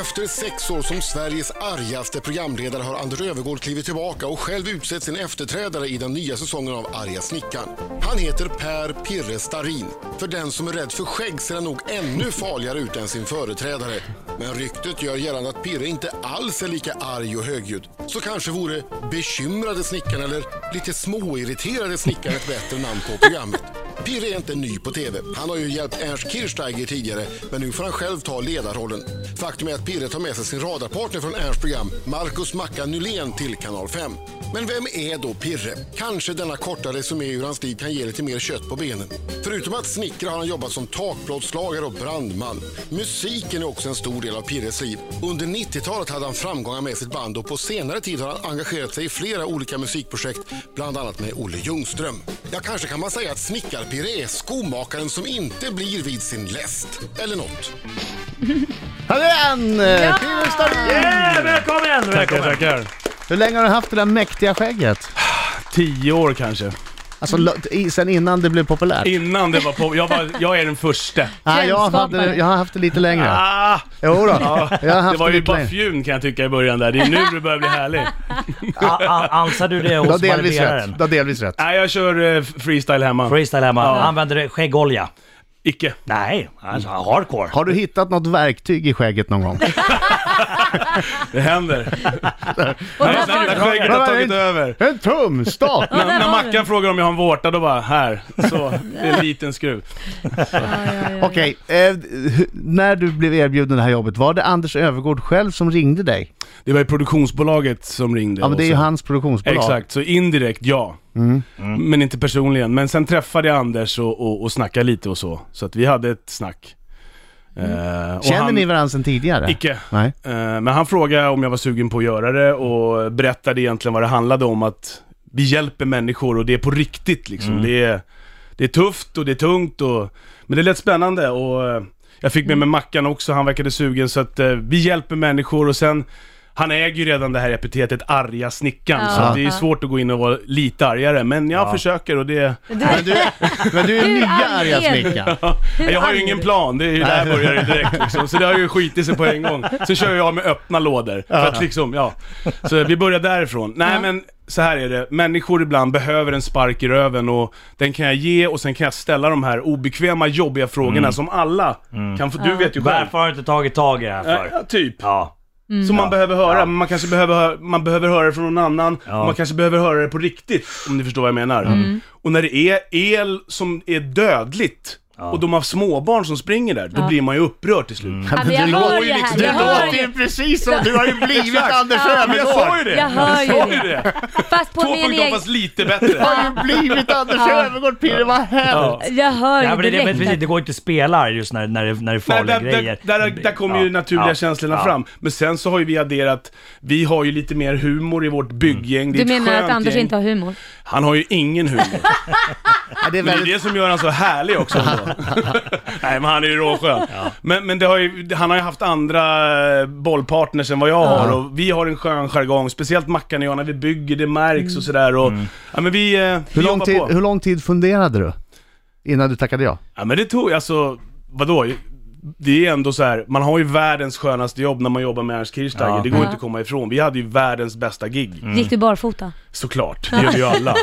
Efter sex år som Sveriges argaste programledare har Anders Övergård klivit tillbaka och själv utsett sin efterträdare i den nya säsongen av Arga snickaren. Han heter Per Pirre Starin. För den som är rädd för skägg ser han nog ännu farligare ut än sin företrädare. Men ryktet gör gällande att Pirre inte alls är lika arg och högljudd. Så kanske vore bekymrade snickaren eller lite småirriterade snickaren ett bättre namn på programmet. Pirre är inte ny på TV. Han har ju hjälpt Ernst Kirchsteiger tidigare, men nu får han själv ta ledarrollen. Faktum är att Pirre tar med sig sin radarpartner från Ernsts program, Marcus Macka Nylén, till Kanal 5. Men vem är då Pirre? Kanske denna korta resumé ur hans liv kan ge lite mer kött på benen. Förutom att snickra har han jobbat som takplåtslagare och brandman. Musiken är också en stor del av Pirres liv. Under 90-talet hade han framgångar med sitt band och på senare tid har han engagerat sig i flera olika musikprojekt, bland annat med Olle Ljungström. Ja, kanske kan man säga att snickarpirre är skomakaren som inte blir vid sin läst. Eller något. Här är han! Ja! Yeah, Äh, välkommen! Tackar, välkommen. tackar. Hur länge har du haft det där mäktiga skägget? Tio år kanske. Alltså lo- i- sen innan det blev populärt? Innan det var på... Jag, var, jag är den första. Nej, jag, hade, det- jag har haft det lite längre. Ah, Jo då. jag har haft det var det ju lite bara längre. fjun kan jag tycka i början där. Det är nu det börjar bli härligt. A- a- Ansar du det Du har hos delvis rätt. barberaren? Du har delvis rätt. Nej, jag kör eh, freestyle hemma. Freestyle hemma. Använder du skäggolja? Icke. Nej, alltså hardcore. Har du hittat något verktyg i skägget någon gång? Det händer. Och Nej, där sen när var, skägget har tagit över. En tumstat! Ja, När där var den. Mackan frågar om jag har en vårta, då bara här. Så, det är en liten skruv. Ja, ja, ja. Okej, eh, hu- när du blev erbjuden det här jobbet, var det Anders Övergård själv som ringde dig? Det var ju produktionsbolaget som ringde. Ja men det är och ju så- hans produktionsbolag. Exakt, så indirekt ja. Mm. Men inte personligen. Men sen träffade jag Anders och, och, och snackade lite och så. Så att vi hade ett snack. Eh, och Känner han- ni varandra sedan tidigare? Icke. Nej. Eh, Men han frågade om jag var sugen på att göra det och berättade egentligen vad det handlade om att vi hjälper människor och det är på riktigt liksom. Mm. Det, är, det är tufft och det är tungt och... Men det lät spännande och eh, jag fick med Mm. mig Mackan också, han verkade sugen så att eh, vi hjälper människor och sen han äger ju redan det här epitetet arga snickaren, så Ja. att det är Ja. svårt att gå in och vara lite argare. Men jag försöker och det... Men du, men du är Hur nya arg arga är du? snickaren. Hur jag har ju arg ingen du? plan, det är ju där börjar det direkt liksom. Så det har ju skitit sig på en gång. Sen kör jag med öppna lådor. För att liksom, ja. Så vi börjar därifrån. Nej men, så här är det. Människor ibland behöver en spark i röven och den kan jag ge och sen kan jag ställa de här obekväma, jobbiga frågorna som alla kan få. Du vet ju själv. Mm. Varför har du inte tagit tag i det här för? Ja, typ. Ja. Som man behöver höra, Ja. men man kanske behöver, hö- man behöver höra det från någon annan, och man kanske behöver höra det på riktigt, om ni förstår vad jag menar. Mm. Och när det är el som är dödligt, och de har småbarn som springer där, då blir man ju upprörd till Mm. slut. Ja, men jag hör ju liksom här, Du jag hör låter ju ju. precis som, du har ju blivit Anders Men jag Övergård! sa ju det! Jag hör ju jag sa ju det. det! Fast på min 2.0 egen... fast lite bättre. Du har ju blivit Anders Övergård Pirre, vad hemskt! Ja. Jag hör Ja, ju men det, men precis, direkt. det går inte att spela just när, när, det, när det är Nej, farliga där, grejer. där, där, där kommer ju Ja. naturliga Ja. känslorna Ja. fram. Men sen så har ju vi adderat, vi har ju lite mer humor i vårt bygggäng. Det är Du ett menar att skönt Anders gäng. inte har humor? Han har ju ingen humor. Ja, det är Men det är väldigt... det som gör han så härlig också ändå. Nej men han är ju råskön. Men, men det har ju, han har ju haft andra eh, bollpartners än vad jag har och vi har en skön jargong, speciellt Mackan och jag när vi bygger, det märks och sådär och... Ja men vi, eh, vi Mm. hur, lång jobbar tid, på. hur lång tid funderade du? Innan du tackade ja? Ja men det tog, alltså, vadå? Det är ändå så här, man har ju världens skönaste jobb när man jobbar med Ernst Kirchsteiger, Ja. det går Ja. inte att komma ifrån. Vi hade ju världens bästa gig. Mm. Gick du barfota? Såklart, det gör vi ju alla.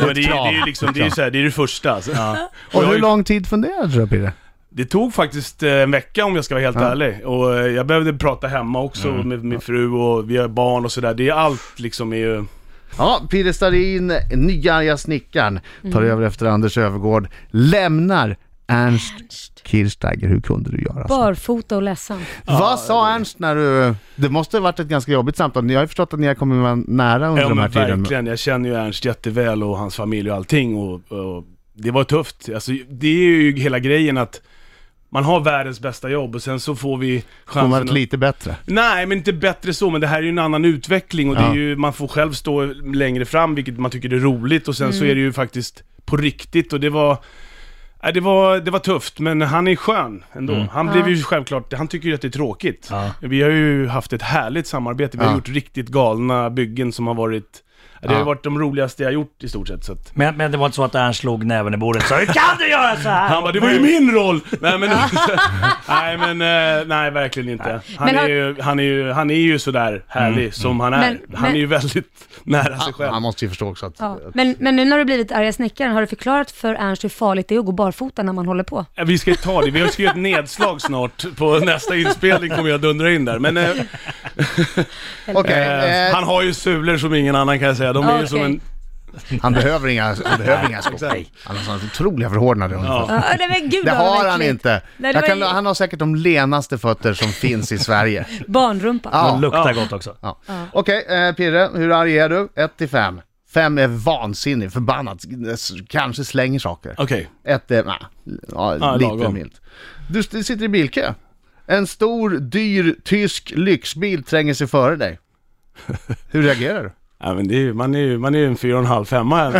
Men det, är- det är ju liksom, det är ju så här, det är det första. Alltså. Och Och jag har hur ju- lång tid funderade du Pirre? Det tog faktiskt eh, en vecka om jag ska vara helt ärlig. Och eh, jag behövde prata hemma också Mm. med min fru och vi har barn och sådär. Det är allt liksom är ju... Ja, Pirre Starin, nya arga snickaren, tar över efter Anders Övergård, lämnar Ernst Kirchsteiger. Hur kunde du göra så? Barfota och ledsen. Vad sa Ernst när du... Det måste ha varit ett ganska jobbigt samtal. Jag har ju förstått att ni har kommit varandra nära under Ja den här men tiden. verkligen. Jag känner ju Ernst jätteväl och hans familj och allting och, och det var tufft. Alltså, det är ju hela grejen att man har världens bästa jobb och sen så får vi Hon chansen varit lite bättre. Nej, men inte bättre så, men det här är ju en annan utveckling och det Ja. är ju, man får själv stå längre fram, vilket man tycker är roligt och sen så är det ju faktiskt på riktigt och det var Nej, det, var, det var tufft, men han är skön ändå. Mm. Han blev ju självklart, han tycker ju att det är tråkigt. Vi har ju haft ett härligt samarbete, vi har Ja. gjort riktigt galna byggen som har varit Det har ju Ja. varit de roligaste jag gjort i stort sett. Så att... Men, men det var inte så att Ernst slog näven i bordet och sa Hur kan du göra så här? Han bara, det var ju min roll! Nej men, nej, men eh, nej verkligen inte. Han Men är, har- ju, han, är ju, han är ju sådär härlig som han är. Men- han är men- ju väldigt nära sig själv. Han måste ju förstå också att... Ja. Men, men nu när du blivit arga snickaren, har du förklarat för Ernst hur farligt det är att gå barfota när man håller på? Ja, Vi ska ju ta det, vi ska ju ett nedslag snart. På nästa inspelning kommer jag dundra in där. Men eh, Okej, eh, eh, han har ju sulor som ingen annan kan jag säga. De är ju Okej. som en... han behöver inga, han behöver inga skor. exakt. Han har sådana otroliga förhårdnader. Ja. Ja, nej men gud Det vad har han äckligt. inte. Nej, det Jag var kan, ju- han har säkert de lenaste fötter som finns i Sverige. Barnrumpa. Ja. De luktar gott också. Ja. Okej, eh, Pirre, hur arg är du? 1 till 5. 5 är vansinnig, förbannat, s- kanske slänger saker. Okej. 1 är, nah, ja, Ja, lite lagom. milt. Du st- sitter i bilkö. En stor, dyr, tysk lyxbil tränger sig före dig. Hur reagerar du? Ja, men det är ju, man, är ju, man är ju en fyra och en halv femma. Ja,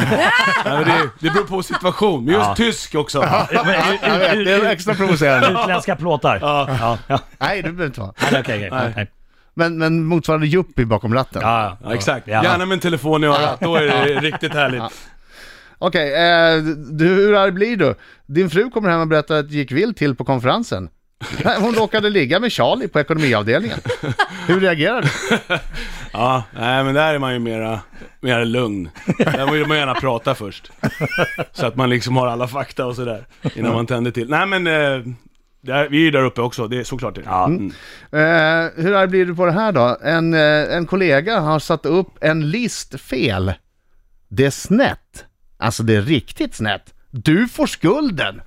men det, det beror på situation, men just Ja. tysk också. Jag vet, det är extra provocerande. Utländska plåtar. Ja. Ja. Ja. Nej, det behöver inte vara. Nej, Okej, okej. Nej. Men, men motsvarande yuppie bakom ratten. Ja, Ja, exakt. Ja. Gärna med en telefon i örat, då är det riktigt härligt. Okej, eh, du, hur arg blir du? Din fru kommer hem och berättar att det gick vilt till på konferensen. Nej, Hon råkade ligga med Charlie på ekonomiavdelningen. Hur reagerar du? Ja, nej men där är man ju mera, mera lugn. Där vill man gärna prata först. Så att man liksom har alla fakta och sådär, innan man tänder till. Nej men, eh, där, vi är ju där uppe också, det är såklart det. Ja. Mm. Eh, hur arg blir du på det här då? En, eh, en kollega har satt upp en list fel. Det är snett. Alltså det är riktigt snett. Du får skulden.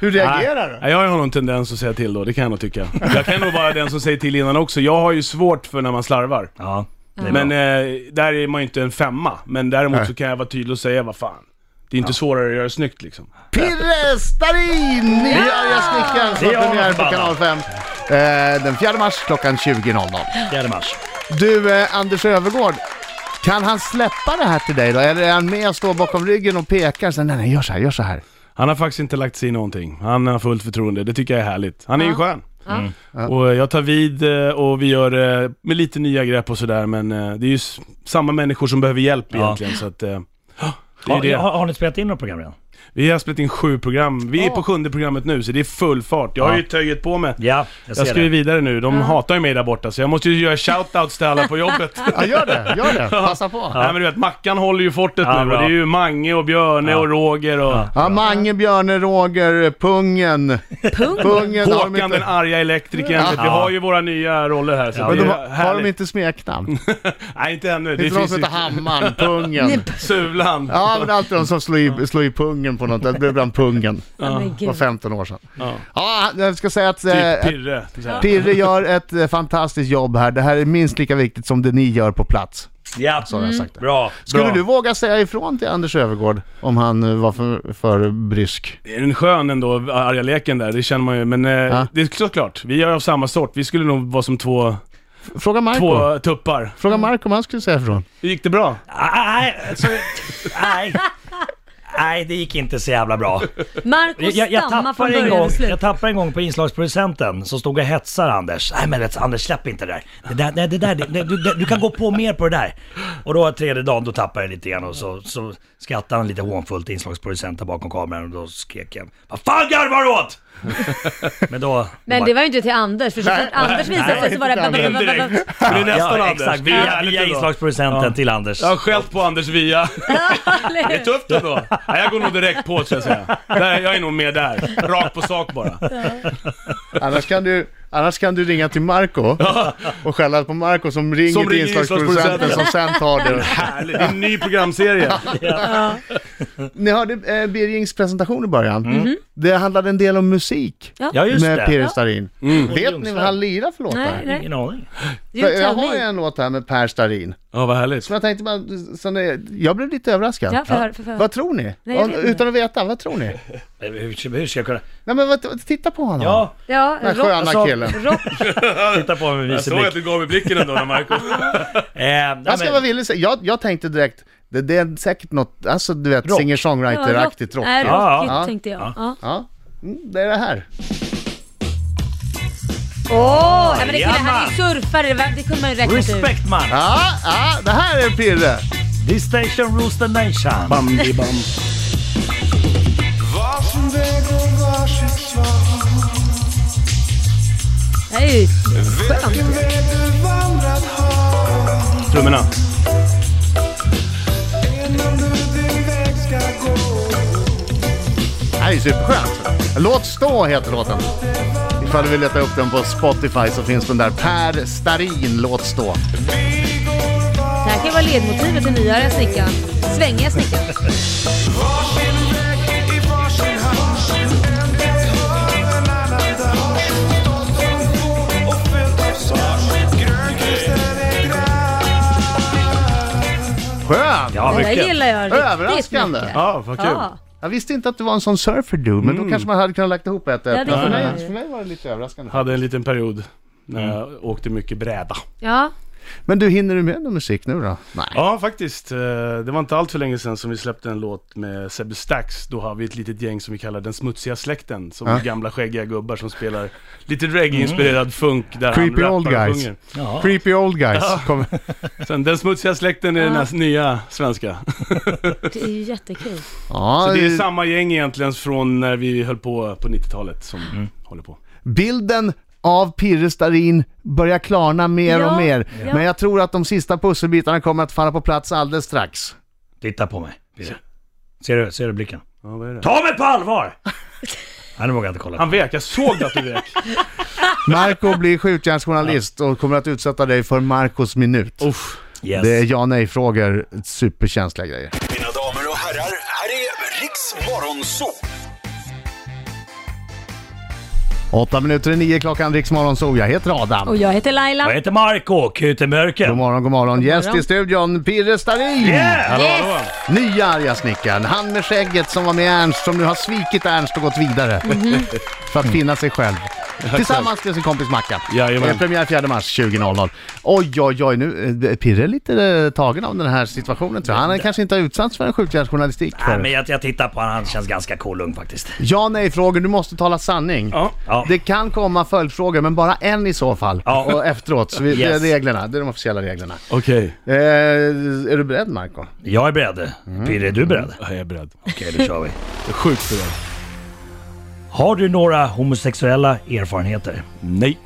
Hur reagerar du? Nej, jag har nog en tendens att säga till då, det kan jag nog tycka. Jag kan nog vara den som säger till innan också. Jag har ju svårt för när man slarvar. Ja. Det är Men men, eh, där är man ju inte en femma. Men däremot Nej. så kan jag vara tydlig och säga vad fan. Det är inte svårare att göra det snyggt liksom. Pirre Starin! Ni hör jag snickaren som Det är har premiär på honom, Kanal 5. Eh, den 4 mars klockan 20.00. eh, 4 mars. Du, eh, Anders Övergård. Kan han släppa det här till dig då? Eller är han med och står bakom ryggen och pekar? Så, nej, nej, gör så här, gör så här. Han har faktiskt inte lagt sig i någonting. Han har fullt förtroende. Det tycker jag är härligt. Han är ju skön. Mm. Och eh, jag tar vid eh, och vi gör eh, med lite nya grepp och sådär. Men eh, det är ju s- samma människor som behöver hjälp Ja. egentligen. Så att, eh, det är Har, det. har, har ni spelat in något program redan? Vi har spelat in sju program. Vi är på sjunde programmet nu, så det är full fart. Jag har Ja. ju töjet på mig. Ja, jag ser Jag ska ju det. vidare nu. De hatar ju mig där borta, så jag måste ju göra shoutouts till alla på jobbet. Ja, gör det, gör det. Passa på. Ja, Nej men du vet, Mackan håller ju fortet Ja, nu bra. och det är ju Mange och Björne Ja. och Roger och Mange, Björne, Roger, Pungen. Pungen har de Håkan den inte... arga elektrikern. Ja. Så att Vi har ju våra nya roller här. Så Ja, det Men de, är har- har härligt. de inte smeknamn? Nej inte ännu. Det Finns det någon finns som ju heter Hammaren, Pungen? Sulan. Ja, men alltid de som slår i, slår i pungen på något. Det blev ibland Pungen. Ja, men Det var gud. 15 år sedan. Ja. Ja, jag ska säga att... eh, Typ Pirre. så här. Pirre gör ett eh, fantastiskt jobb här. Det här är minst lika viktigt som det ni gör på plats. Ja, Så har Mm. jag sagt det. bra. Skulle bra. du våga säga ifrån till Anders Övergård om han eh, var för, för brysk? Det är en skön ändå, arga leken där. Det känner man ju. Men eh, Ja. det är såklart, vi är av samma sort. Vi skulle nog vara som två, Fråga Marco. två tuppar. Fråga Marco om han skulle säga ifrån. Gick det bra? Nej, alltså, nej. Nej, det gick inte så jävla bra. Marco Jag, jag, stammar från tappade en början gång, till slut. jag tappade en gång på inslagsproducenten som stod och hetsade Anders. Nej men vet, du, Anders släpp inte det där. Det där, nej, det där det, det, du, du kan gå på mer på det där. Och då tredje dagen då tappade jag lite grann och så, så skrattade han lite hånfullt inslagsproducenten bakom kameran och då skrek jag Vad fan garvar du åt? Men då... Men det var ju inte till Anders, för så fort Anders visade sig så var det... Indirekt. Men det är nästan ja, Anders. Exakt, Det är via, härligt via ändå. inslagsproducenten till Anders. Jag har skällt på Anders via. Det Eller hur? är tufft ändå. Nej, jag går nog direkt på så jag säga. Där, jag är nog med där. Rakt på sak bara. Annars kan du, annars kan du ringa till Marco och skälla på Marco som ringer Som till ringer inslagsproducenten som sen tar det. Härligt. Det är en ny programserie. Ni hörde eh, Birgings presentation i början. Det handlade en del om musik Mm. Mm-hmm. Ja Mm. just med det. Pirre Starin. Vet ni vad han lirar för låtar? Nej, nej. Ingen aning. You För Jag tell har ju me. en låt här med Per Starin. Ja, vad härligt. Som jag tänkte bara, som det- jag blev lite överraskad. Ja, får jag höra, får jag höra. Vad tror ni? Nej, jag vet inte. Utan att veta, vad tror ni? Hur, hur, hur ska jag kunna... Nej men vad, titta på honom. Ja, Ja, Den här rock- sköna alltså, killen. rock. titta på mig med Jag vice såg blick. att du gav mig blicken ändå när Marco... Eh, nej, Jag ska men- vara villig säga, jag, jag tänkte direkt, det, det är säkert något, alltså du vet, Rock. Ja, rock. singer-songwriter-aktigt rock. Nej, Ja, rockigt ja. tänkte jag. Ja. Ja, mm, det är det här. Åh! Oh, men det killen, Jajamän. han är ju surfare, det, var- det kunde man ju räkna ut. Respect man! Ja, ja, det här är Pirre. This station rules the nation. Bambi, bam. Det är ju skönt. Trummorna. Det här är superskönt. Låt stå heter låten. Ifall du vill leta upp den på Spotify så finns den där. Per Starin, Låt stå. Det här kan ju vara ledmotivet till nya snickaren. Svängiga snickaren. Skön! Ja, Det där mycket. gillar jag riktigt Överraskande. mycket. Ja, vad kul. Ja. Jag visste inte att det var en sån surfer du, men Mm. då kanske man hade kunnat lagt ihop ett och ett. det Men för, kunde mig, man ju. för mig var det lite överraskande. Hade en liten period när jag åkte mycket bräda. ja. Men du, hinner du med någon musik nu då? Nej. Ja, faktiskt. Eh, Det var inte allt för länge sedan som vi släppte en låt med Sebbe Stax. Då har vi ett litet gäng som vi kallar Den Smutsiga Släkten. Som är gamla skäggiga gubbar som spelar lite reggae-inspirerad funk där Creepy han old rappar och guys. sjunger. Ja. Creepy old guys. Kom. Sen Den Smutsiga Släkten är den här nya svenska. Det är ju jättekul. Ja, Så det är eh, samma gäng egentligen från när vi höll på på 90-talet som håller på. bilden av Pirre Starin börjar klarna mer Ja, och mer. ja. Men jag tror att de sista pusselbitarna kommer att falla på plats alldeles strax. Titta på mig. Ser du, ser du blicken? Ja, vad är det? Ta mig på allvar! Nej, nu vågar jag inte kolla. Han vek, jag såg att du vek. Marco blir skjutjärnsjournalist och kommer att utsätta dig för Marcos minut. Uff. Yes. Det är ja nej-frågor, superkänsliga grejer. Mina damer och herrar, här är Riks Morgonzoo! Åtta minuter i nio klockan, Riksmorgon så Jag heter Adam. Och jag heter Laila. Jag heter Marco, Kutemörken. God morgon, god morgon. Gäst morgon. i studion, Pirre Starin! Yeah! Yes! Nya arga snickaren, han med skägget som var med Ernst, som nu har svikit Ernst och gått vidare. Mhm. För att finna sig själv. Tillsammans med sin kompis Mackan. Jajamän. Eh, Premiär 4 mars 20.00. Oj, oj, oj. Nu eh, Pirre är lite eh, tagen av den här situationen tror jag. Han har kanske inte har utsatts för en skjutjärnsjournalistik Nej, men förut. jag, jag tittar på honom. Han känns ganska cool ung faktiskt. Ja, nej frågor. Du måste tala sanning. Ja. Ja. Det kan komma följdfrågor, men bara en i så fall. Ja. Och efteråt. Så vi, Yes. Det är reglerna. Det är de officiella reglerna. Okej. Eh, är du beredd, Marco? Jag är beredd. Pirre, är du beredd? Ja, Jag är beredd. Okej, då kör vi. Jag är sjukt beredd. Har du några homosexuella erfarenheter? Nej.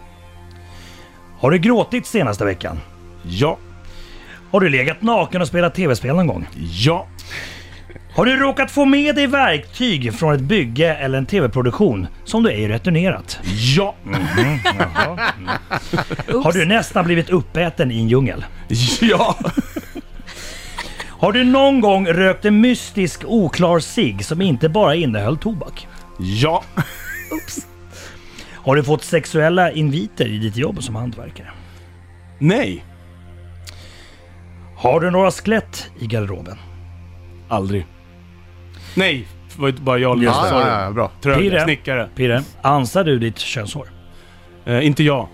Har du gråtit senaste veckan? Ja. Har du legat naken och spelat tv-spel någon gång? Ja. Har du råkat få med dig verktyg från ett bygge eller en tv-produktion som du ej returnerat? Ja. Har du nästan blivit uppäten i en djungel? Ja. Har du någon gång rökt en mystisk oklar cigg som inte bara innehöll tobak? Ja. Har du fått sexuella inviter i ditt jobb som hantverkare? Nej. Har du några skelett i garderoben? Aldrig. Nej. Det var ju bara jag läste. Ja, ja, ja, bra. Trög Pirre. snickare. Pirre, ansar du ditt könshår? Eh, inte jag.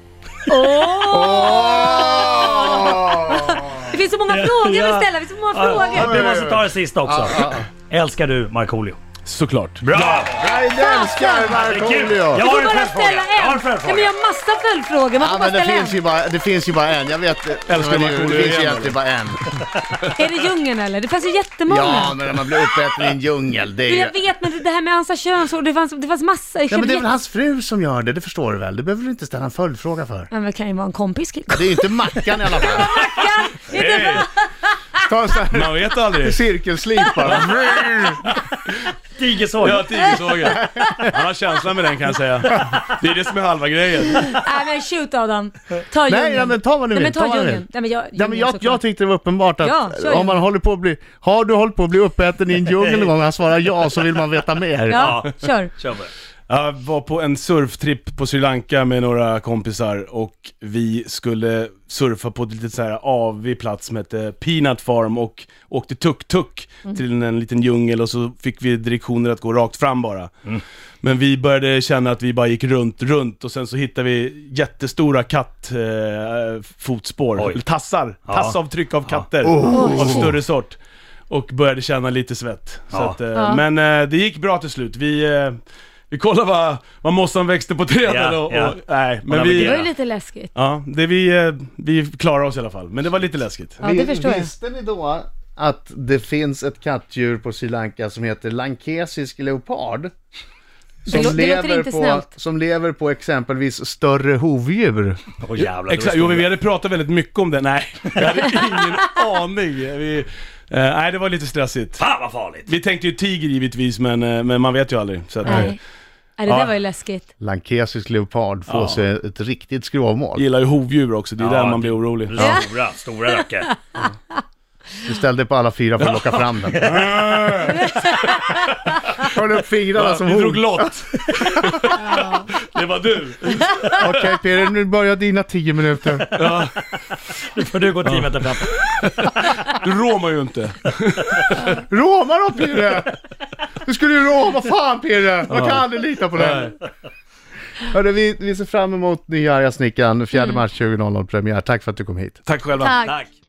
Det finns så många frågor Ja. att ställa, det finns så många frågor. Du måste ta Ah, det sista också. Ah, Älskar du Markoolio? Såklart. Bra! Jag älskar Markoolio! Jag Du har får en bara följdfråga. ställa Jag har en! en Nej, men följdfråga. jag har massa följdfrågor, man får Ja, bara men det ställa finns, en. ju bara, det finns ju bara en, jag vet. Älskar men det, Markoolio det finns ju igen, egentligen bara en. Är det djungeln eller? Det fanns ju jättemånga. Ja, men när man blir uppäten i en djungel, det är Men ju... jag vet, men det- det här med ansa könshår, det fanns, det fanns massa. Ja, Jag men kände det är väl jätte- hans fru som gör det, det förstår du väl? Det behöver du inte ställa en följdfråga för. Men det kan ju vara en kompis. Det är ju inte Mackan i alla fall. Mackan! Är det bra? Ta en sån här Man vet aldrig. cirkelslip bara. Tigersåg. Jag har tigersågen. Han har känslan med den kan jag säga. Det är det som är halva grejen. Nej men shoot Adam. Ta djungeln. Nej, ja, men ta vad du Nej, men vill. ta vad du vill. djungeln. Nej men jag, Ja, men jag, jag såklart. tyckte det var uppenbart att Ja, kör om man igen. håller på att bli... Har du hållit på att bli uppäten i en djungel någon gång och han svarar ja så vill man veta mer. Ja, kör. Kör på det. Jag var på en surftripp på Sri Lanka med några kompisar och vi skulle surfa på ett litet så här avig plats som hette Peanut Farm och åkte tuk-tuk till en liten djungel och så fick vi direktioner att gå rakt fram bara. Mm. Men vi började känna att vi bara gick runt, runt och sen så hittade vi jättestora kattfotspår, eh, fotspår, Oj. eller tassar, Ja. Oh. tassavtryck av katter av större sort. Och började känna lite svett. Så Ja. att, eh, Ja. Men eh, det gick bra till slut. Vi, eh, Vi kollar vad, vad mossan växte på träden Ja, och, ja. och... Nej, men har vi... Det var ju lite läskigt. Ja, det vi, eh, vi klarar oss i alla fall. Men det var lite läskigt. Ja, det förstår jag. Visste ni då att det finns ett kattdjur på Sri Lanka som heter lankesisk leopard? Som, lå- det låter inte på, snällt. som lever på exempelvis större hovdjur. Åh jävlar. Exakt, jo men vi hade pratat väldigt mycket om det. Nej, jag hade ingen aning. Vi, eh, nej, det var lite stressigt. Fan vad farligt! Vi tänkte ju tiger givetvis, men, eh, men man vet ju aldrig. Så att, eh, Nej. Nej, det Ja. där var ju läskigt. Lankesisk leopard får Ja. sig ett riktigt skrovmål. gillar ju hovdjur också, det är Ja, där man det- blir orolig. Stora, stora rökare. Du ställde på alla fyra för att locka fram den. Höll upp fingrarna som Vi drog hon. lott. det var du. Okej Peder, nu börjar dina tio minuter. Nu får du gå tio meter fram. Du råmar ju inte. Roma då Pirre! Du skulle ju roma, fan Pirre! Man kan aldrig lita på det. Hörru, Mm. vi, vi ser fram emot nya Arga Snickaren, 4 mars 20.00 premiär. Tack för att du kom hit. Tack själva. Tack. Tack.